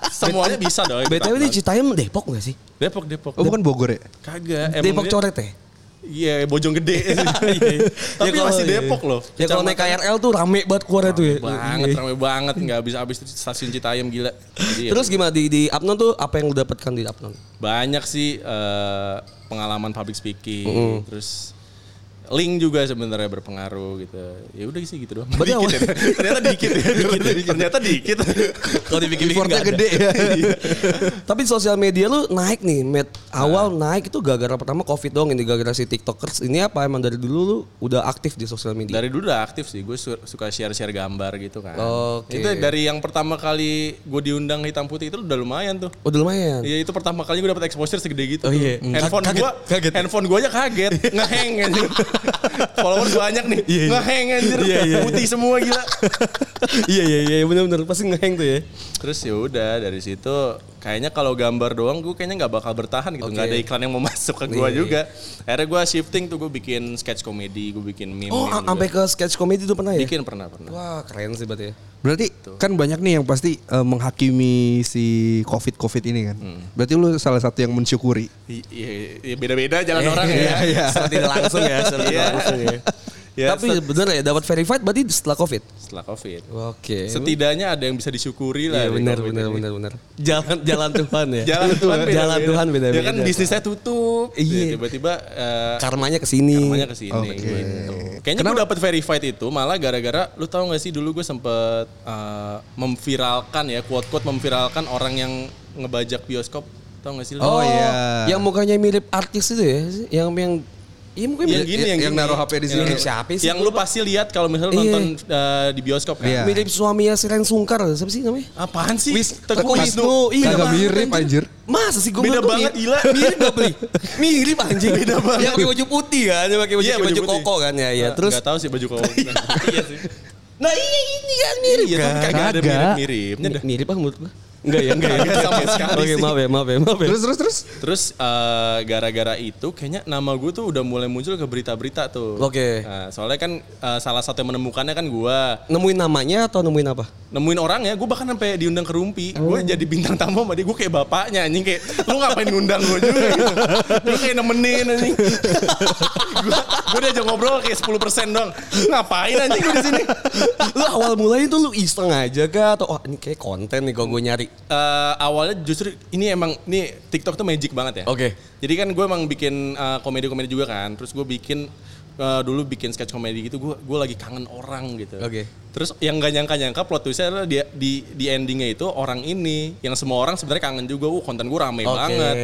semuanya bisa dong ikut BTW di apnon. Citayam Depok gak sih? Depok Depok Oh, bukan Bogor ya? kagak Depok emang dia- coret ya? Iya, Bojong Gede. Iya. Iya. Tapi kalau- masih Depok loh. Ya kalau naik KRL tuh rame banget keluarnya tuh ya. banget, ramai banget nggak habis habis di stasiun Citayam gila. Jadi ya, Terus gimana di di Apnon tuh apa yang lu dapatkan di Apnon? banyak sih eh, pengalaman public speaking, terus link juga sebenarnya berpengaruh gitu. Ya udah sih gitu doang. Berarti Dikit ya. awal- Ternyata dikit. ya. Ternyata dikit. Kalau dipikir-pikir Effortnya nggak ada. gede ya. Iya. Tapi sosial media lu naik nih, Matt. Awal Nah. naik itu gara-gara pertama Covid dong ini gara-gara si TikTokers. Ini apa emang dari dulu lu udah aktif di sosial media? Dari dulu udah aktif sih, gue su- suka share-share gambar gitu kan. Oke. Itu dari yang pertama kali gue diundang hitam putih itu udah lumayan tuh. Oh, Udah lumayan. Iya itu pertama kali gue dapet exposure segede gitu. Oh, iya. Hmm. Handphone Kaget, gue, kaget. handphone gue aja kaget, ngeheng anjir. Followers banyak nih, ngeheng anjir. Putih semua gila. iya iya iya benar-benar pasti ngeheng tuh ya. Terus ya udah dari situ kayaknya kalau gambar doang gue kayaknya nggak bakal bertahan gitu, nggak ada iklan yang mau masuk ke Iya, gue juga. Akhirnya gue shifting tuh gue bikin sketch komedi, gue bikin meme. gitu. Oh, a- sampai ke sketch comedy tuh pernah ya? bikin pernah pernah. Wah, keren sih berarti ya. Berarti kan banyak nih yang pasti eh, menghakimi si COVID-COVID ini kan. Berarti lu salah satu yang mensyukuri. I- Iya, iya, Eh, beda-beda jalan orang ya. iya, Secara tidak langsung ya, secara tidak Iya. langsung ya. Ya, Tapi bener ya dapat verified berarti setelah Covid. Setelah covid. Oke. Setidaknya ada yang bisa disyukuri lah. Iya dari benar ya, COVID benar ini. benar benar. Jalan jalan Tuhan ya. Jalan Tuhan beda-beda. Jalan Tuhan beda beda. Ya kan bisnis saya tutup. Iya. Ya, Tiba-tiba eh, karmanya ke sini. namanya ke sini gitu. Kayaknya gue dapet verified itu malah gara-gara lu tahu gak sih dulu gue sempet eh, memviralkan ya quote-quote memviralkan orang yang ngebajak bioskop. Tahu gak sih lu? Oh, Oh, iya. Yang mukanya mirip artis itu ya, yang yang Iya mukanya Yang mirip, gini yang, yang gini. naruh HP di sini. Yang- Siapa sih? Yang lu pasti lihat kalau misalnya Iya. nonton eh, di bioskop kan. Iya. mirip suaminya Siren Sungkar, siapa sih namanya? Apaan sih? Wis- Teguh Teguh Wisnu. Wisnu. Iya, Kagak Bang. mirip anjir. Masa sih gue Beda banget, gila. Mirip gak beli? Mirip anjing. Beda banget. Yang pakai baju putih kan, yang pakai baju, Iya, baju, baju putih. koko kan ya, ya. Nggak- Terus nggak tahu sih baju koko. Iya sih. nah iya ini kan mirip Iya, tapi kan. kagak ada Kagak. mirip-miripnya dah. Mi- mirip ah menurut gue. Enggak ya, enggak ya. Kagak sama sekali Oke, sih. maaf ya, maaf ya, maaf ya. Terus terus terus. Terus eh, gara-gara itu kayaknya nama gue tuh udah mulai muncul ke berita-berita tuh. Oke. Nah, soalnya kan eh, salah satu yang menemukannya kan gue nemuin namanya atau nemuin apa? nemuin orangnya, gue bahkan sampai diundang ke Rumpi. Gue jadi bintang tamu sama dia, gue kayak bapaknya anjing kayak lu ngapain ngundang gue juga gitu. Lu kayak nemenin anjing. gue diajak ngobrol kayak 10% doang. Lu Ngapain anjing gue di sini? lu awal mulanya tuh lu iseng aja kah atau wah ini kayak konten nih kalau gue nyari. Eh, awalnya justru ini emang ini TikTok tuh magic banget ya. Oke. Jadi kan gue emang bikin eh, komedi-komedi juga kan. Terus gue bikin eh, dulu bikin sketch komedi gitu. Gue gue lagi kangen orang gitu. Oke. Terus yang gak nyangka-nyangka plot twistnya adalah dia, di di endingnya itu orang ini yang semua orang sebenarnya kangen juga. Uh konten gue rame Oke. banget.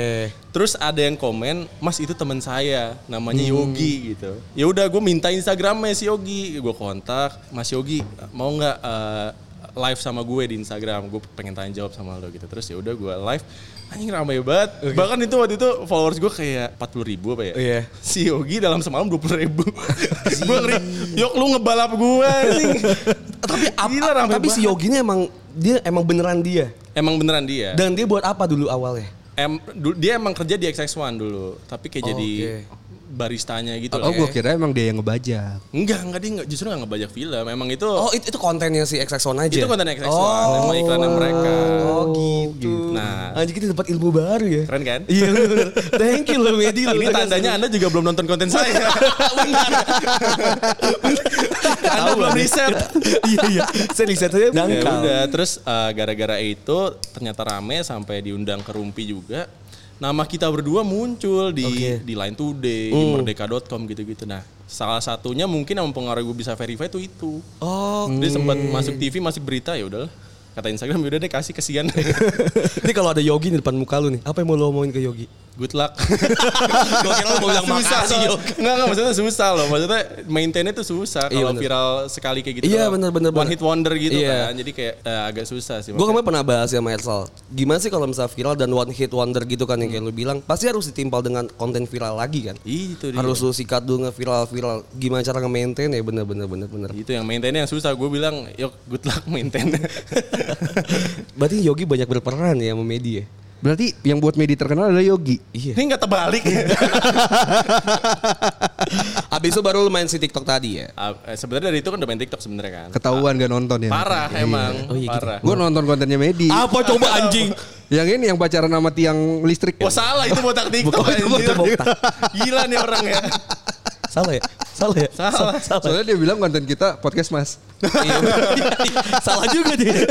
Terus ada yang komen, Mas itu teman saya, namanya Hmm. Yogi gitu. Ya udah gue minta Instagramnya si Yogi, gue kontak, Mas Yogi mau nggak eh, live sama gue di Instagram? Gue pengen tanya jawab sama lo gitu. Terus ya udah gue live, anjing ramai banget. Bahkan itu waktu itu followers gue kayak 40 ribu apa ya? Iya. Si Yogi dalam semalam 20 ribu. gue ngeri, Yok lu ngebalap gue anjing. Tapi apa? Gila, rame tapi si banget. Yogi ini emang dia emang beneran dia. Emang beneran dia. Dan dia buat apa dulu awalnya? Em, du- dia emang kerja di XX1 dulu, tapi kayak Oh, jadi oke. baristanya gitu Oh, loh. gue kira emang dia yang ngebajak. Enggak, enggak dia enggak, justru enggak ngebajak film. Emang itu Oh itu, itu kontennya si XX1 aja? itu konten XX1, emang iklanan mereka. Oh gitu. Nah. Anjir kita dapat ilmu baru ya. Keren kan? Iya bener. Thank you loh Medi. Ini tandanya Anda juga belum nonton konten saya. Bentar. Anda belum riset. Iya iya. Saya riset aja. Ya dangkal. udah, terus eh, gara-gara itu ternyata rame sampai diundang ke Rumpi juga. Nama kita berdua muncul di di Line Uh. Today, di merdeka.com gitu-gitu. Nah, salah satunya mungkin yang mempengaruhi gue bisa verify itu itu. Oh. Dia sempat masuk TV, masuk berita ya udahlah. Kata Instagram "Ya udah deh kasih kesian. Ini kalau ada Yogi di depan muka lu nih, apa yang mau lu omongin ke Yogi? Good luck. Gue kira lo mau bilang Susah, makasih Sok. Yogi. Enggak, enggak maksudnya susah loh. Maksudnya maintainnya tuh susah Iya, kalau bener. viral sekali kayak gitu. Iya, loh. bener, bener, One bener. hit wonder gitu Iya. kan. Jadi kayak eh, agak susah sih. Gue kemarin pernah bahas ya sama Ersal. Gimana sih kalau misalnya viral dan one hit wonder gitu kan yang kayak lu bilang, pasti harus ditimpal dengan konten viral lagi kan? itu dia. Harus lu sikat dulu nge-viral-viral. Gimana cara nge-maintain ya bener-bener bener-bener. Itu yang maintainnya yang susah. Gue bilang, yuk good luck maintain. Berarti Yogi banyak berperan ya sama Medi ya? Berarti yang buat Medi terkenal adalah Yogi. Iya. Ini nggak terbalik. Abis itu baru lu main si TikTok tadi ya? Ah, eh, sebenarnya dari itu kan udah main TikTok sebenarnya kan. Ketahuan gak nonton ya. Parah Iya. emang, Oh, gitu. parah. Gue nonton kontennya Medi. Apa coba anjing? Yang ini yang pacaran sama tiang listrik. Wah salah itu botak TikTok Bukan, itu anjir. botak. Gila nih orang ya. Salah ya? Salah ya? Salah. Salah, Soalnya dia bilang konten kita podcast mas. Iya, salah juga dia.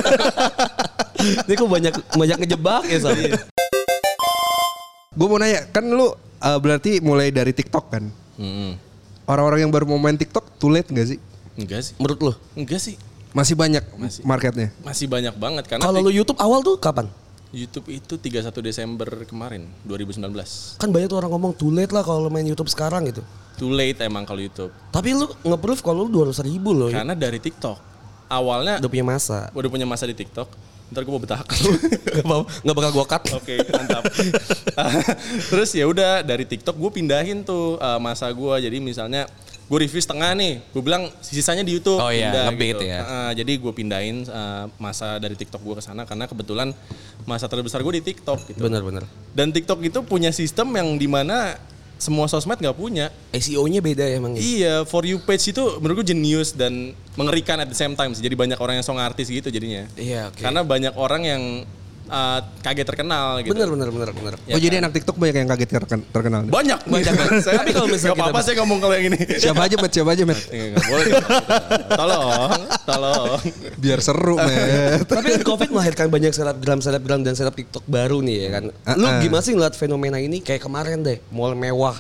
Dia kok banyak banyak ngejebak ya soalnya. Gue mau nanya, kan lu uh, berarti mulai dari TikTok kan? Mm-mm. Orang-orang yang baru mau main TikTok too late gak sih? Enggak sih. Menurut lu? Enggak sih. Masih banyak marketnya. Masih banyak banget karena Kalau lu YouTube awal tuh kapan? YouTube itu 31 Desember kemarin 2019. Kan banyak tuh orang ngomong too late lah kalau lu main YouTube sekarang gitu. Too late emang kalau YouTube. Tapi lu nge-proof kalau lu 200 ribu loh. Karena dari TikTok. Awalnya Udah punya masa. udah punya masa di TikTok. Ntar gue mau betah. Gak apa-apa, gak bakal gua cut. Oke, mantap. Terus ya udah dari TikTok gue pindahin tuh eh, masa gue. Jadi misalnya gue review setengah nih, gue bilang sisanya di YouTube. Oh iya, Pindah gitu. ngebit ya. Heeh, jadi gue pindahin eh, masa dari TikTok gue ke sana karena kebetulan masa terbesar gue di TikTok gitu. Bener-bener. Dan TikTok itu punya sistem yang dimana semua sosmed nggak punya. SEO-nya beda ya emang ya? Iya, for you page itu menurut gue jenius dan mengerikan at the same time. sih. Jadi banyak orang yang song artis gitu jadinya. Iya, oke. Karena banyak orang yang uh, kaget terkenal gitu. Bener, bener, bener, bener. oh jadi anak TikTok banyak yang kaget terken- terkenal. Banyak, banyak. saya, Iya. Tapi kalau misalnya Gak apa-apa kita- saya ngomong kalau yang ini. Siapa aja met, siapa aja met. Eh, nggak boleh. tolong, tolong. Biar seru met. Tapi kan COVID melahirkan banyak selebgram, selebgram dan seleb TikTok baru nih ya kan. Ah, Lu Uh-uh. gimana sih ngeliat fenomena ini kayak kemarin deh, mall mewah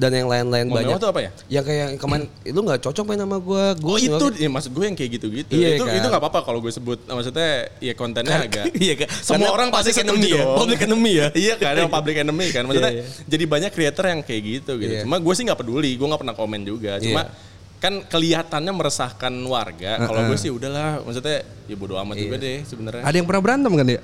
dan yang lain-lain Hmm. Mall banyak. mewah tuh apa ya? Hmm. Yang kayak yang kemarin itu nggak cocok main sama gua. Gua Oh itu, nyoba- ya, maksud gue yang kayak gitu-gitu. Iya, itu kan? itu nggak apa-apa kalau gue sebut. Maksudnya ya kontennya agak. Iya kan. Semua orang pasti public seneng enemy ya. dong. Public enemy ya. iya kan ada public enemy kan maksudnya Iya, iya. jadi banyak creator yang kayak gitu gitu Iya. cuma gue sih nggak peduli gue nggak pernah komen juga cuma kan kelihatannya meresahkan warga kalau gue sih udahlah maksudnya ya bodo amat juga deh sebenarnya Ada yang pernah berantem kan dia?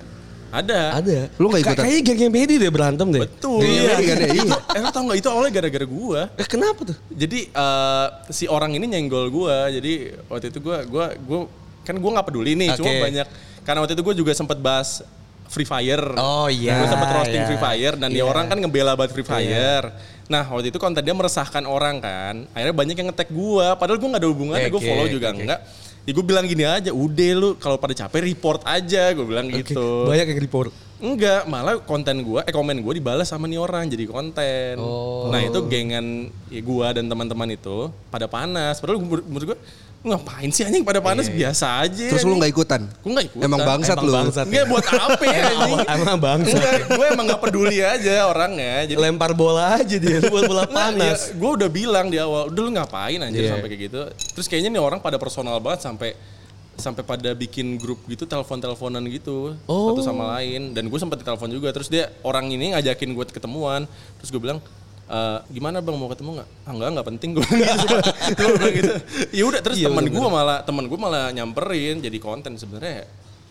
ada Iya. Ada. Lu nggak Ka- ikutan? Kayaknya geng-geng PD deh berantem deh. betul Iya, iya, iya. Itu- eh lo tau nggak itu awalnya gara-gara gue Eh, kenapa tuh? jadi eh, si orang ini nyenggol gue jadi waktu itu gue gue gue kan gue nggak peduli nih cuma Oke. banyak karena waktu itu gue juga sempat bahas Free Fire Oh iya. gue sempet roasting iya. Free Fire dan dia orang kan ngebela banget Free Fire. Nah waktu itu konten dia meresahkan orang kan. Akhirnya banyak yang ngetek gue. Padahal gue nggak ada hubungannya. gue Oke, follow oke, juga oke. enggak. Ya gue bilang gini aja. Udah lu kalau pada capek report aja. Gue bilang Oke, gitu. Banyak yang report. Enggak, malah konten gua, eh komen gua dibalas sama nih orang jadi konten. Oh. Nah, itu gengan ya gua dan teman-teman itu pada panas. Padahal gua- menurut gua "Lu ngapain sih anjing pada panas biasa aja. Terus lu nggak ikutan? Gua nggak ikut. Emang bangsat Iya, Emang lu. bangsat. Enggak buat apa ya anjing. Emang bangsa. Enggak, gue emang gak peduli aaja orangnya. Jadi Lempar bola aja dia, buat bola panas. gue Nah, iya, udah bilang di awal, udah lu ngapain anjir sampai kayak gitu. Terus kayaknya nih orang pada personal banget sampai sampai pada bikin grup gitu telepon-teleponan gitu satu sama lain dan gue sempat ditelepon juga terus dia orang ini ngajakin gue ketemuan terus gue bilang "Eh, gimana bang mau ketemu nggak ah nggak nggak penting gue gitu ya udah terus teman gue malah teman gue malah nyamperin jadi konten sebenarnya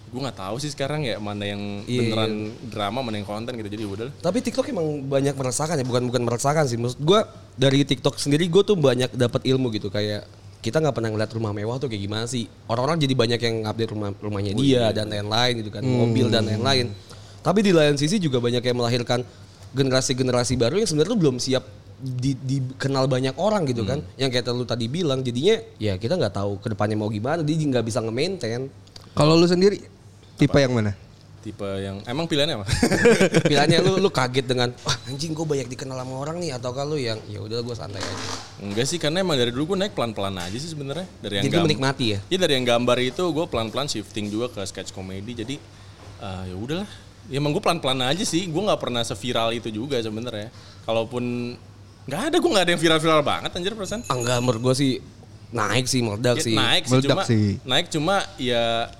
gue nggak tahu sih sekarang ya mana yang beneran drama mana yang konten gitu jadi udah lah. Tapi TikTok emang banyak meresahkan ya, bukan bukan meresahkan sih. Maksud gue dari TikTok sendiri gue tuh banyak dapat ilmu gitu kayak kita nggak pernah ngeliat rumah mewah tuh kayak gimana sih. Orang-orang jadi banyak yang update rumah rumahnya dia dan lain-lain gitu kan, mobil dan lain-lain. Tapi di lain sisi juga banyak yang melahirkan generasi-generasi baru yang sebenarnya tuh belum siap di- dikenal banyak orang gitu kan yang kayak lu tadi bilang jadinya ya kita nggak tahu kedepannya mau gimana dia nggak bisa nge-maintain Kalau lu sendiri tipe yang mana? Tipe yang emang pilihannya apa? pilihannya lu lu kaget dengan wah anjing gue banyak dikenal sama orang nih atau kalau yang ya udah gue santai aja Enggak sih karena emang dari dulu gue naik pelan-pelan aja sih sebenarnya dari yang jadi lu gam- menikmati ya Iya dari yang gambar itu gue pelan-pelan shifting juga ke sketch comedy jadi eh, ya udahlah. Ya emang gue pelan-pelan aja sih. Gue nggak pernah seviral itu juga sebenarnya. Kalaupun nggak ada gue nggak ada yang viral-viral banget anjir perasaan. ah, enggak menurut gue sih naik sih meledak Ya, sih Naik sih Meledak cuma sih. naik cuma ya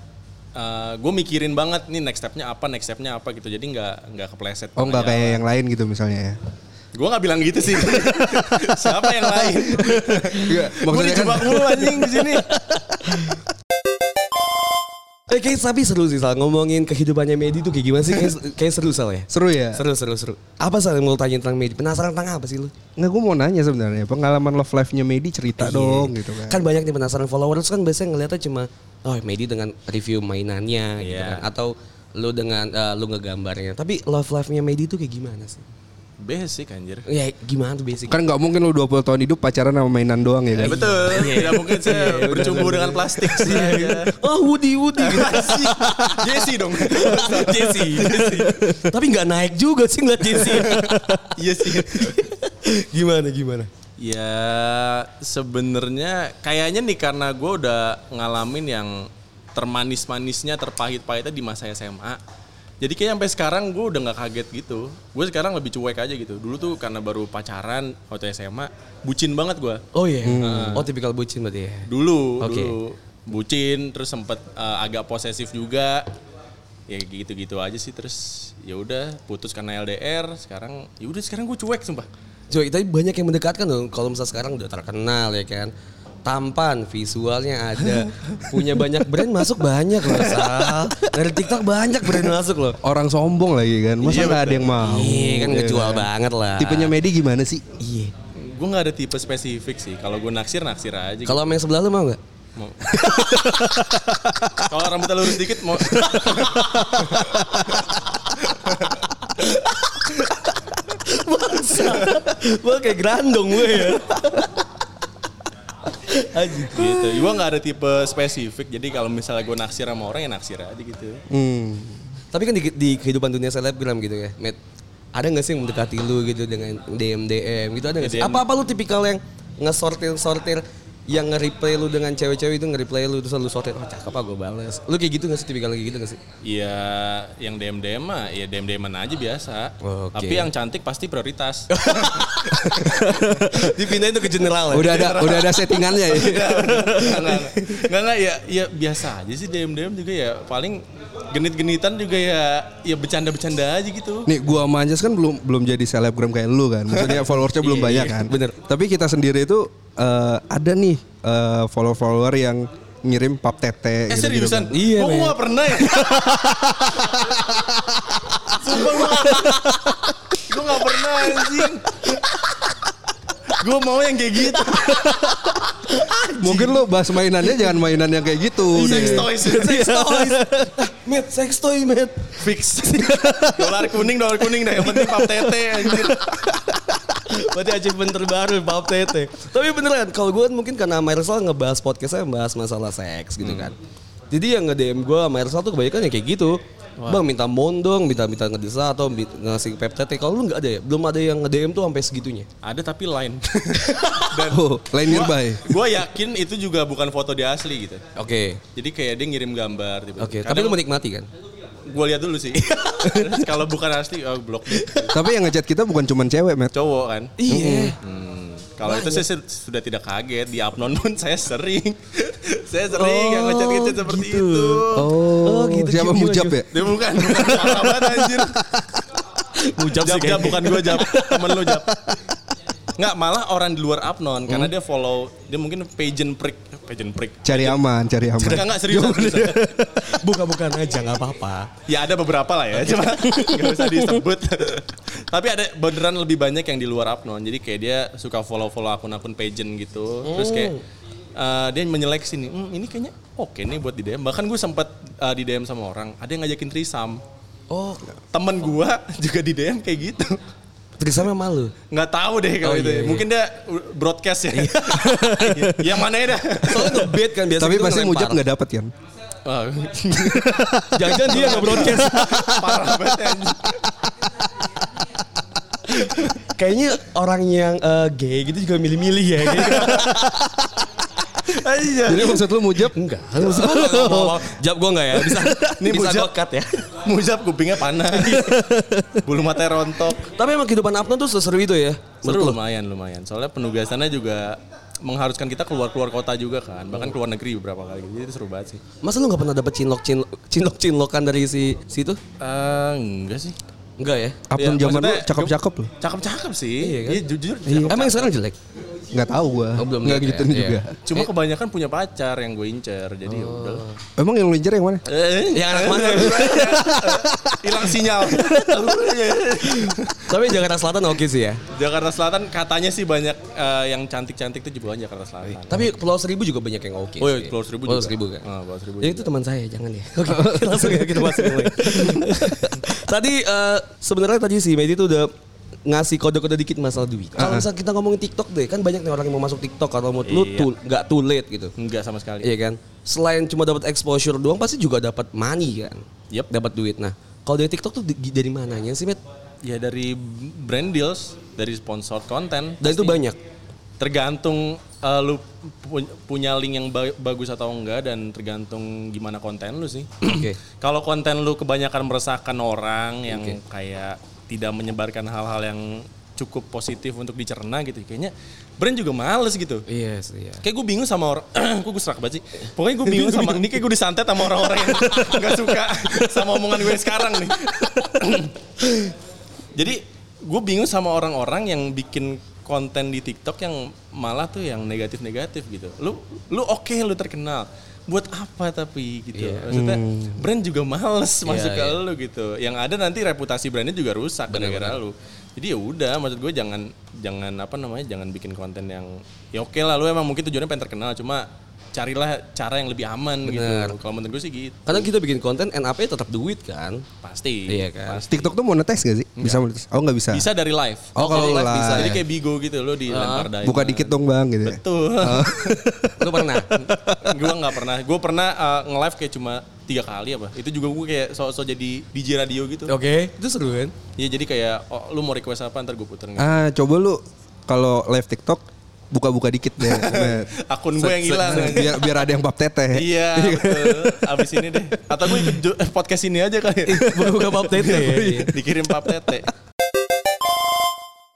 gue mikirin banget nih next stepnya apa next stepnya apa gitu jadi nggak nggak kepleset. Oh nggak kayak yang lain gitu misalnya ya? Gue nggak bilang gitu sih. Siapa yang lain? Iya, Gue dijebak mulu anjing di sini. eh kayak tapi seru sih sal ngomongin kehidupannya Medi tuh kayak gimana sih kayak, kayak seru sal ya seru ya? seru seru seru apa sal yang mau lu tanyain tentang Medi penasaran tentang apa sih lu Nggak, gue mau nanya sebenarnya pengalaman love life-nya Medi cerita dong gitu kan. kan banyak nih penasaran followers kan biasanya ngeliatnya cuma oh Medi dengan review mainannya gitu kan Iya. atau lu dengan eh, lu ngegambarnya tapi love life-nya Medi tuh kayak gimana sih Basic anjir. ya gimana tuh basic Kan nggak mungkin lu 20 tahun hidup pacaran sama mainan doang ya Ya, kan? betul. Tidak mungkin saya Iya, bercumbu dengan plastik sih. ya. oh Woody Woody Jesse. Jesse dong. Jesse. Jesse. tapi nggak naik juga sih ngeliat ya. Jesse Iya sih. gimana gimana Ya sebenarnya kayaknya nih karena gue udah ngalamin yang termanis-manisnya, terpahit-pahitnya di masa SMA. Jadi kayak sampai sekarang gue udah nggak kaget gitu. Gue sekarang lebih cuek aja gitu. Dulu tuh karena baru pacaran waktu SMA, bucin banget gue. oh iya Hmm. oh tipikal bucin berarti ya Dulu, Oke. dulu bucin, terus sempet eh, agak posesif juga. Ya gitu-gitu aja sih terus ya udah putus karena LDR, sekarang ya udah sekarang gue cuek sumpah. Cuy, tapi banyak yang mendekatkan dong. Kalau misalnya sekarang udah terkenal ya kan. Tampan, visualnya ada. Punya banyak brand masuk banyak loh, Sal. Dari TikTok banyak brand masuk loh. Orang sombong lagi kan, masa nggak ada yang mau? Iya kan ngejual banget lah. Tipenya Medi gimana sih? Iya. Gue nggak ada tipe spesifik sih. Kalau gue naksir naksir aja. gitu. Kalau sama yang sebelah lu mau nggak? Mau- Kalau rambutnya lurus dikit mau. Bangsa. Gua kayak grandong gue ya. Aji. gitu. Gue nggak ada tipe spesifik. Jadi kalau misalnya gue naksir sama orang ya naksir aja gitu. Hmm. Tapi kan di, di kehidupan dunia selebgram gitu ya, Matt. Ada nggak sih yang mendekati lu gitu dengan DM DM gitu ada nggak sih? DM. Apa apa lu tipikal yang ngesortir sortir yang nge-reply lu dengan cewek-cewek itu nge-reply lu terus lu sortir oh cakep apa gue balas. Lu kayak gitu nggak sih tipikal kayak gitu nggak sih? Iya, yang DM DM mah ya DM DM aja biasa. Oke. Tapi yang cantik pasti prioritas. Dipindahin tuh ke general ya. Udah ada udah ada settingannya ya. Enggak, enggak, enggak. Enggak, enggak, ya, ya biasa aja sih DM-DM juga ya. Paling genit-genitan juga ya ya bercanda-bercanda aja gitu. Nih gua sama Anjas kan belum belum jadi selebgram kayak lu kan. Maksudnya followersnya belum Iya, banyak iya, kan. bener. Tapi kita sendiri itu eh, ada nih eh, follower-follower yang ngirim pap tete Eh gitu-gitu kan. seriusan? Iya, Oh, men. gua gak pernah ya? Sumpah gua Gua gak pernah anjing. Gua mau yang kayak gitu. Mungkin lu bahas mainannya jangan mainan yang kayak gitu. Sex deh. toys. sex toys. Ah, Matt, sex toy, Matt. Iya. Fix. dolar kuning, dolar kuning dah. Yang penting pap tete anjir. Berarti achievement terbaru Pap Tete. Tapi beneran kalau gue mungkin karena Mersal ngebahas podcastnya ngebahas masalah seks gitu kan. Jadi yang nge-DM gue Mersal tuh kebanyakan ya kayak gitu. Bang minta mondong, minta-minta ngedesa atau bi- ngasih pep tete. Kalau lu nggak ada ya, belum ada yang nge-DM tuh sampai segitunya. Ada tapi lain. Oh, lain nearby. Gua yakin itu juga bukan foto dia asli gitu. Oke. Jadi kayak dia ngirim gambar tiba Oke, tapi lu menikmati kan? gue lihat dulu sih. Terus Kalau bukan asli oh, blok Tapi yang ngechat kita bukan cuman cewek, Matt. cowok kan. Iya. Hmm, Kalau itu saya se- sudah tidak kaget di Abnon pun saya sering. saya sering yang ngechat-ngechat Oh, seperti gitu. itu. Oh, gitu. Siapa Gimana, mujab gimana? ya? Dia bukan, bukan Parah banget, anjir. Mujab Jab, sih jab, kayaknya. bukan gue jab, temen lu jab. Enggak, malah orang di luar Abnon Hmm? karena dia follow, dia mungkin pageant prick, pageant prick. Cari aman, cari aman. Enggak, enggak serius. Buka-bukan aja nggak apa-apa. Ya ada beberapa lah ya, cuma nggak usah disebut. Tapi ada beneran lebih banyak yang di luar Apnon. Jadi kayak dia suka follow-follow akun-akun pageant gitu. Terus kayak Hmm. eh, dia menyeleksi nih, "Hmm, ini kayaknya oke nih buat di DM. Bahkan gue sempat eh, di DM sama orang, ada yang ngajakin trisam. Oh, Temen gue juga di DM kayak gitu. Trisam sama lu. Nggak tahu deh Oh, kalau itu. iya, iya. Mungkin dia broadcast ya. yang mana ya dah? Soalnya ngebet kan biasa Tapi gitu pasti ngelempar. mujab nggak dapet kan? Wah, Jangan-jangan dia nggak broadcast. Parah banget. anjing. Kayaknya orang yang eh, gay gitu juga milih-milih ya. Aja. Jadi maksud lu mujab? Enggak, maksud gue nggak mau- jawab gue enggak ya. Bisa Ini bisa mujab. gua cut ya. Mujab kupingnya panas. Bulu mata rontok. Tapi emang kehidupan Afnan tuh seseru itu ya. Seru lumayan lumayan. Soalnya penugasannya juga mengharuskan kita keluar-keluar kota juga kan. Bahkan keluar negeri beberapa kali. Jadi itu seru banget sih. Masa lu gak pernah dapet cinlok cinlok cinlok cinlokan dari si situ? Eh, enggak sih. Enggak ya. Apun Ya, zaman lu maksudnya- cakep-cakep lu? Cakep-cakep sih. Iya Iya, kan? jujur. cakep. Emang yang sekarang jelek. Nggak tahu gua. Oh, belum Nggak lihat gitu ya, iya. juga. Cuma kebanyakan punya pacar yang gue incer. Jadi ya udah. Oh. Emang yang lu incer yang mana? Eh, Yang anak gitu. mana? hilang sinyal. Tapi Jakarta Selatan oke sih ya. Jakarta Selatan katanya sih banyak eh, yang cantik-cantik tuh juga kan Jakarta Selatan. Tapi Pulau Seribu juga banyak yang oke. Oh iya, sih. Pulau Seribu Pulau juga. Seribu kan. Ah, Pulau Seribu Ya juga. itu teman saya, jangan ya. Oke, langsung ya kita masuk mulai. tadi eh, sebenarnya tadi si Medi tuh udah ngasih kode-kode dikit masalah duit. Kalau misalnya kita ngomongin TikTok deh, kan banyak nih orang yang mau masuk TikTok kalau menurut lu Ah, Iya. tuh nggak too late gitu. Enggak sama sekali. Iya kan? Selain cuma dapat exposure doang pasti juga dapat money kan. Yep. Dapat duit. Nah, kalau dari TikTok tuh di- dari mananya sih, Met? Ya dari brand deals, dari sponsor konten. Dan itu banyak. Tergantung eh, lu pu- punya link yang ba- bagus atau enggak dan tergantung gimana konten lu sih. Oke. Kalau konten lu kebanyakan meresahkan orang yang kayak tidak menyebarkan hal-hal yang cukup positif untuk dicerna gitu, kayaknya brand juga males gitu. Iya sih, iya. Kayak gue bingung sama orang, gue gue serak banget sih. Pokoknya gue bingung sama, ini kayak gue disantet sama orang-orang yang gak suka sama omongan gue sekarang nih. Jadi gue bingung sama orang-orang yang bikin konten di TikTok yang malah tuh yang negatif-negatif gitu. Lu lu oke lu terkenal. Buat apa tapi gitu. Maksudnya brand juga males masuk ke lu gitu. Yang ada nanti reputasi brandnya juga rusak gara-gara lu. Jadi ya udah maksud gue jangan jangan apa namanya jangan bikin konten yang ya oke lah lu emang mungkin tujuannya pengen terkenal cuma carilah cara yang lebih aman gitu. Kalau menurut gue sih gitu. Karena kita bikin konten NAP tetap duit kan. Pasti. Iya kan. TikTok tuh monetize gak sih? Bisa monetize? Oh nggak bisa. Bisa dari live. Oh, kalau Jadi live. Ah, bisa. Jadi kayak Bigo gitu lo dilempar diamond. Buka dikit dong bang gitu. ya. Betul. Lu pernah? gue nggak pernah. Gue pernah uh, nge-live kayak cuma tiga kali apa. Itu juga gue kayak sok-sok jadi DJ radio gitu. Oh. Oke, itu seru kan? Iya jadi kayak oh, lu mau request apa ntar gue puter nggak? Ah coba lu kalau live TikTok buka-buka dikit deh. Nah, Met. Akun gue yang hilang. biar biar ada yang bab teteh. Iya betul. Abis ini deh. Atau gue ikut jo- podcast ini aja kali. Iya, ya. iya. Buka pap tete. Dikirim pap tete.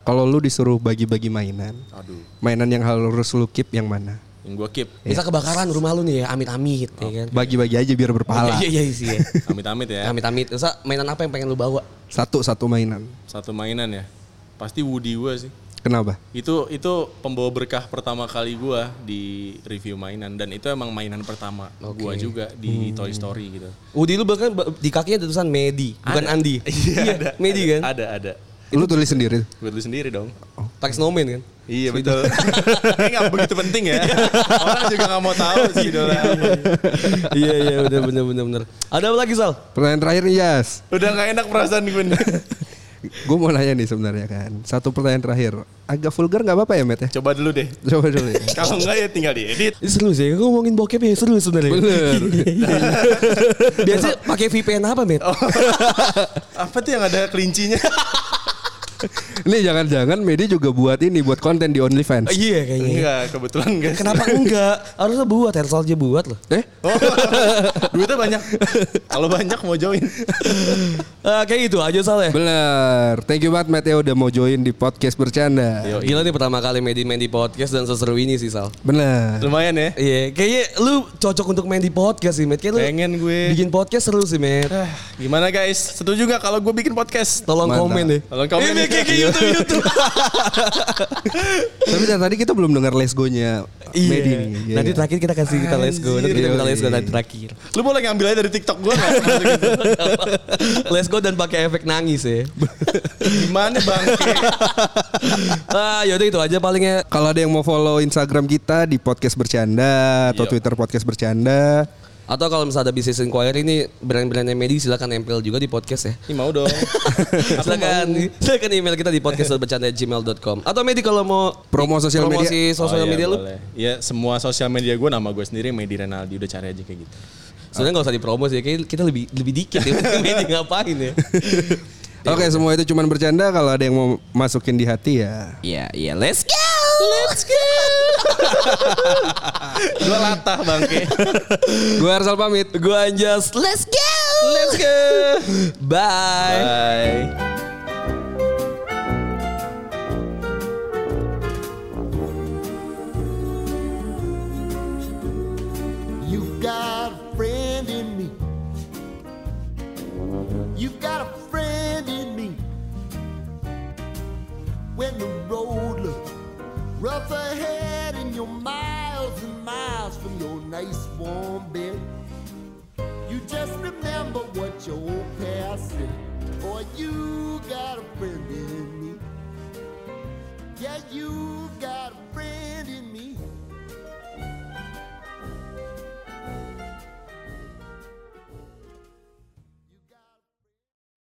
Kalau lu disuruh bagi-bagi mainan, Aduh. mainan yang harus lu keep yang mana? Yang gue keep. Bisa kebakaran rumah lu nih ya, amit-amit ya kan. Bagi-bagi aja biar berpahala. Iya iya iya, sih ya. Amit-amit ya. Amit-amit. Terus mainan apa yang pengen lu bawa? Satu satu mainan. Satu mainan ya. Pasti Woody gue sih. Kenapa? Itu itu pembawa berkah pertama kali gua di review mainan dan itu emang mainan pertama gua juga di Hmm. Toy Story gitu. Udi lu bahkan ba- di kakinya ada tulisan Medi, bukan Andi. Iya, Medi kan? Ada ada. Lu tulis sendiri. Buat lu sendiri dong. Pakai snowman kan? Iya betul. Ini nggak begitu penting ya. Orang juga nggak mau tahu sih idola. Iya iya bener bener bener bener. Ada apa lagi Sal? Pertanyaan terakhir nih Yas. Udah nggak enak perasaan gue nih. Gue mau nanya nih sebenarnya kan. Satu pertanyaan terakhir. Agak vulgar nggak apa-apa ya Met ya? Coba dulu deh. Coba dulu ya. Kalau nggak ya tinggal diedit. Ini seru sih, gue ngomongin bokep ya seru sebenarnya. Bener. Biasa pakai VPN apa, Met? Apa tuh yang ada kelincinya? Ini jangan-jangan Medi juga buat ini buat konten di OnlyFans. Iya kayaknya. Enggak, kebetulan enggak. Kenapa enggak? Harusnya buat, Hersal aja buat loh. Eh? Oh, duitnya banyak. Kalau banyak mau join. Eh, kayak gitu aja Sal ya. Bener. Thank you banget Matt ya udah mau join di podcast bercanda. Yoi. Gila nih pertama kali Medi main di podcast dan seseru ini sih Sal. Bener. Lumayan ya. Iya, kayaknya lu cocok untuk main di podcast sih, Met. Kayak lu Pengen gue. bikin podcast seru sih, Met. Ah, Gimana guys? Setuju gak kalau gue bikin podcast? Tolong Mantap. komen deh. Tolong Ini komen. kayak gitu. kayak YouTube YouTube. Tapi dari tadi kita belum dengar lesgonya Iya. Medi nih. Iya, Nanti iya. terakhir kita kasih kita let's go. Nanti Anjir. kita minta let's go Iya. nanti terakhir. Lu boleh ngambil aja dari TikTok gue gak? let's go dan pakai efek nangis ya. Gimana bang? ah, yaudah itu aja palingnya. Iya. Kalau ada yang mau follow Instagram kita di podcast bercanda atau Twitter podcast bercanda, Atau kalau misalnya ada bisnis inquiry ini brand-brandnya Medi silakan nempel juga di podcast ya. Ini mau dong. Aku silakan mau. silakan email kita di podcast@bercanda@gmail.com. Atau Medi kalau mau Promo sosial media. promosi sosial Oh, iya, media lu boleh. Iya, semua sosial media gue nama gue sendiri Medi Renaldi udah cari aja kayak gitu. Sebenarnya nggak usah dipromo sih, kayak kita lebih lebih dikit ya. Medi ngapain ya? Oke, Iya. semua itu cuman bercanda kalau ada yang mau masukin di hati ya. Iya, iya, let's go. Let's go. Gue latah bangke. Gue Arsal pamit. Gua anjas, let's go. Let's go. Bye. Bye. You've got a friend in me. You've got a friend in me. When the road looks rough ahead and you're miles and miles from your nice warm bed, you just remember what your old past said. Boy, you got a friend in me. Yeah, you got a friend.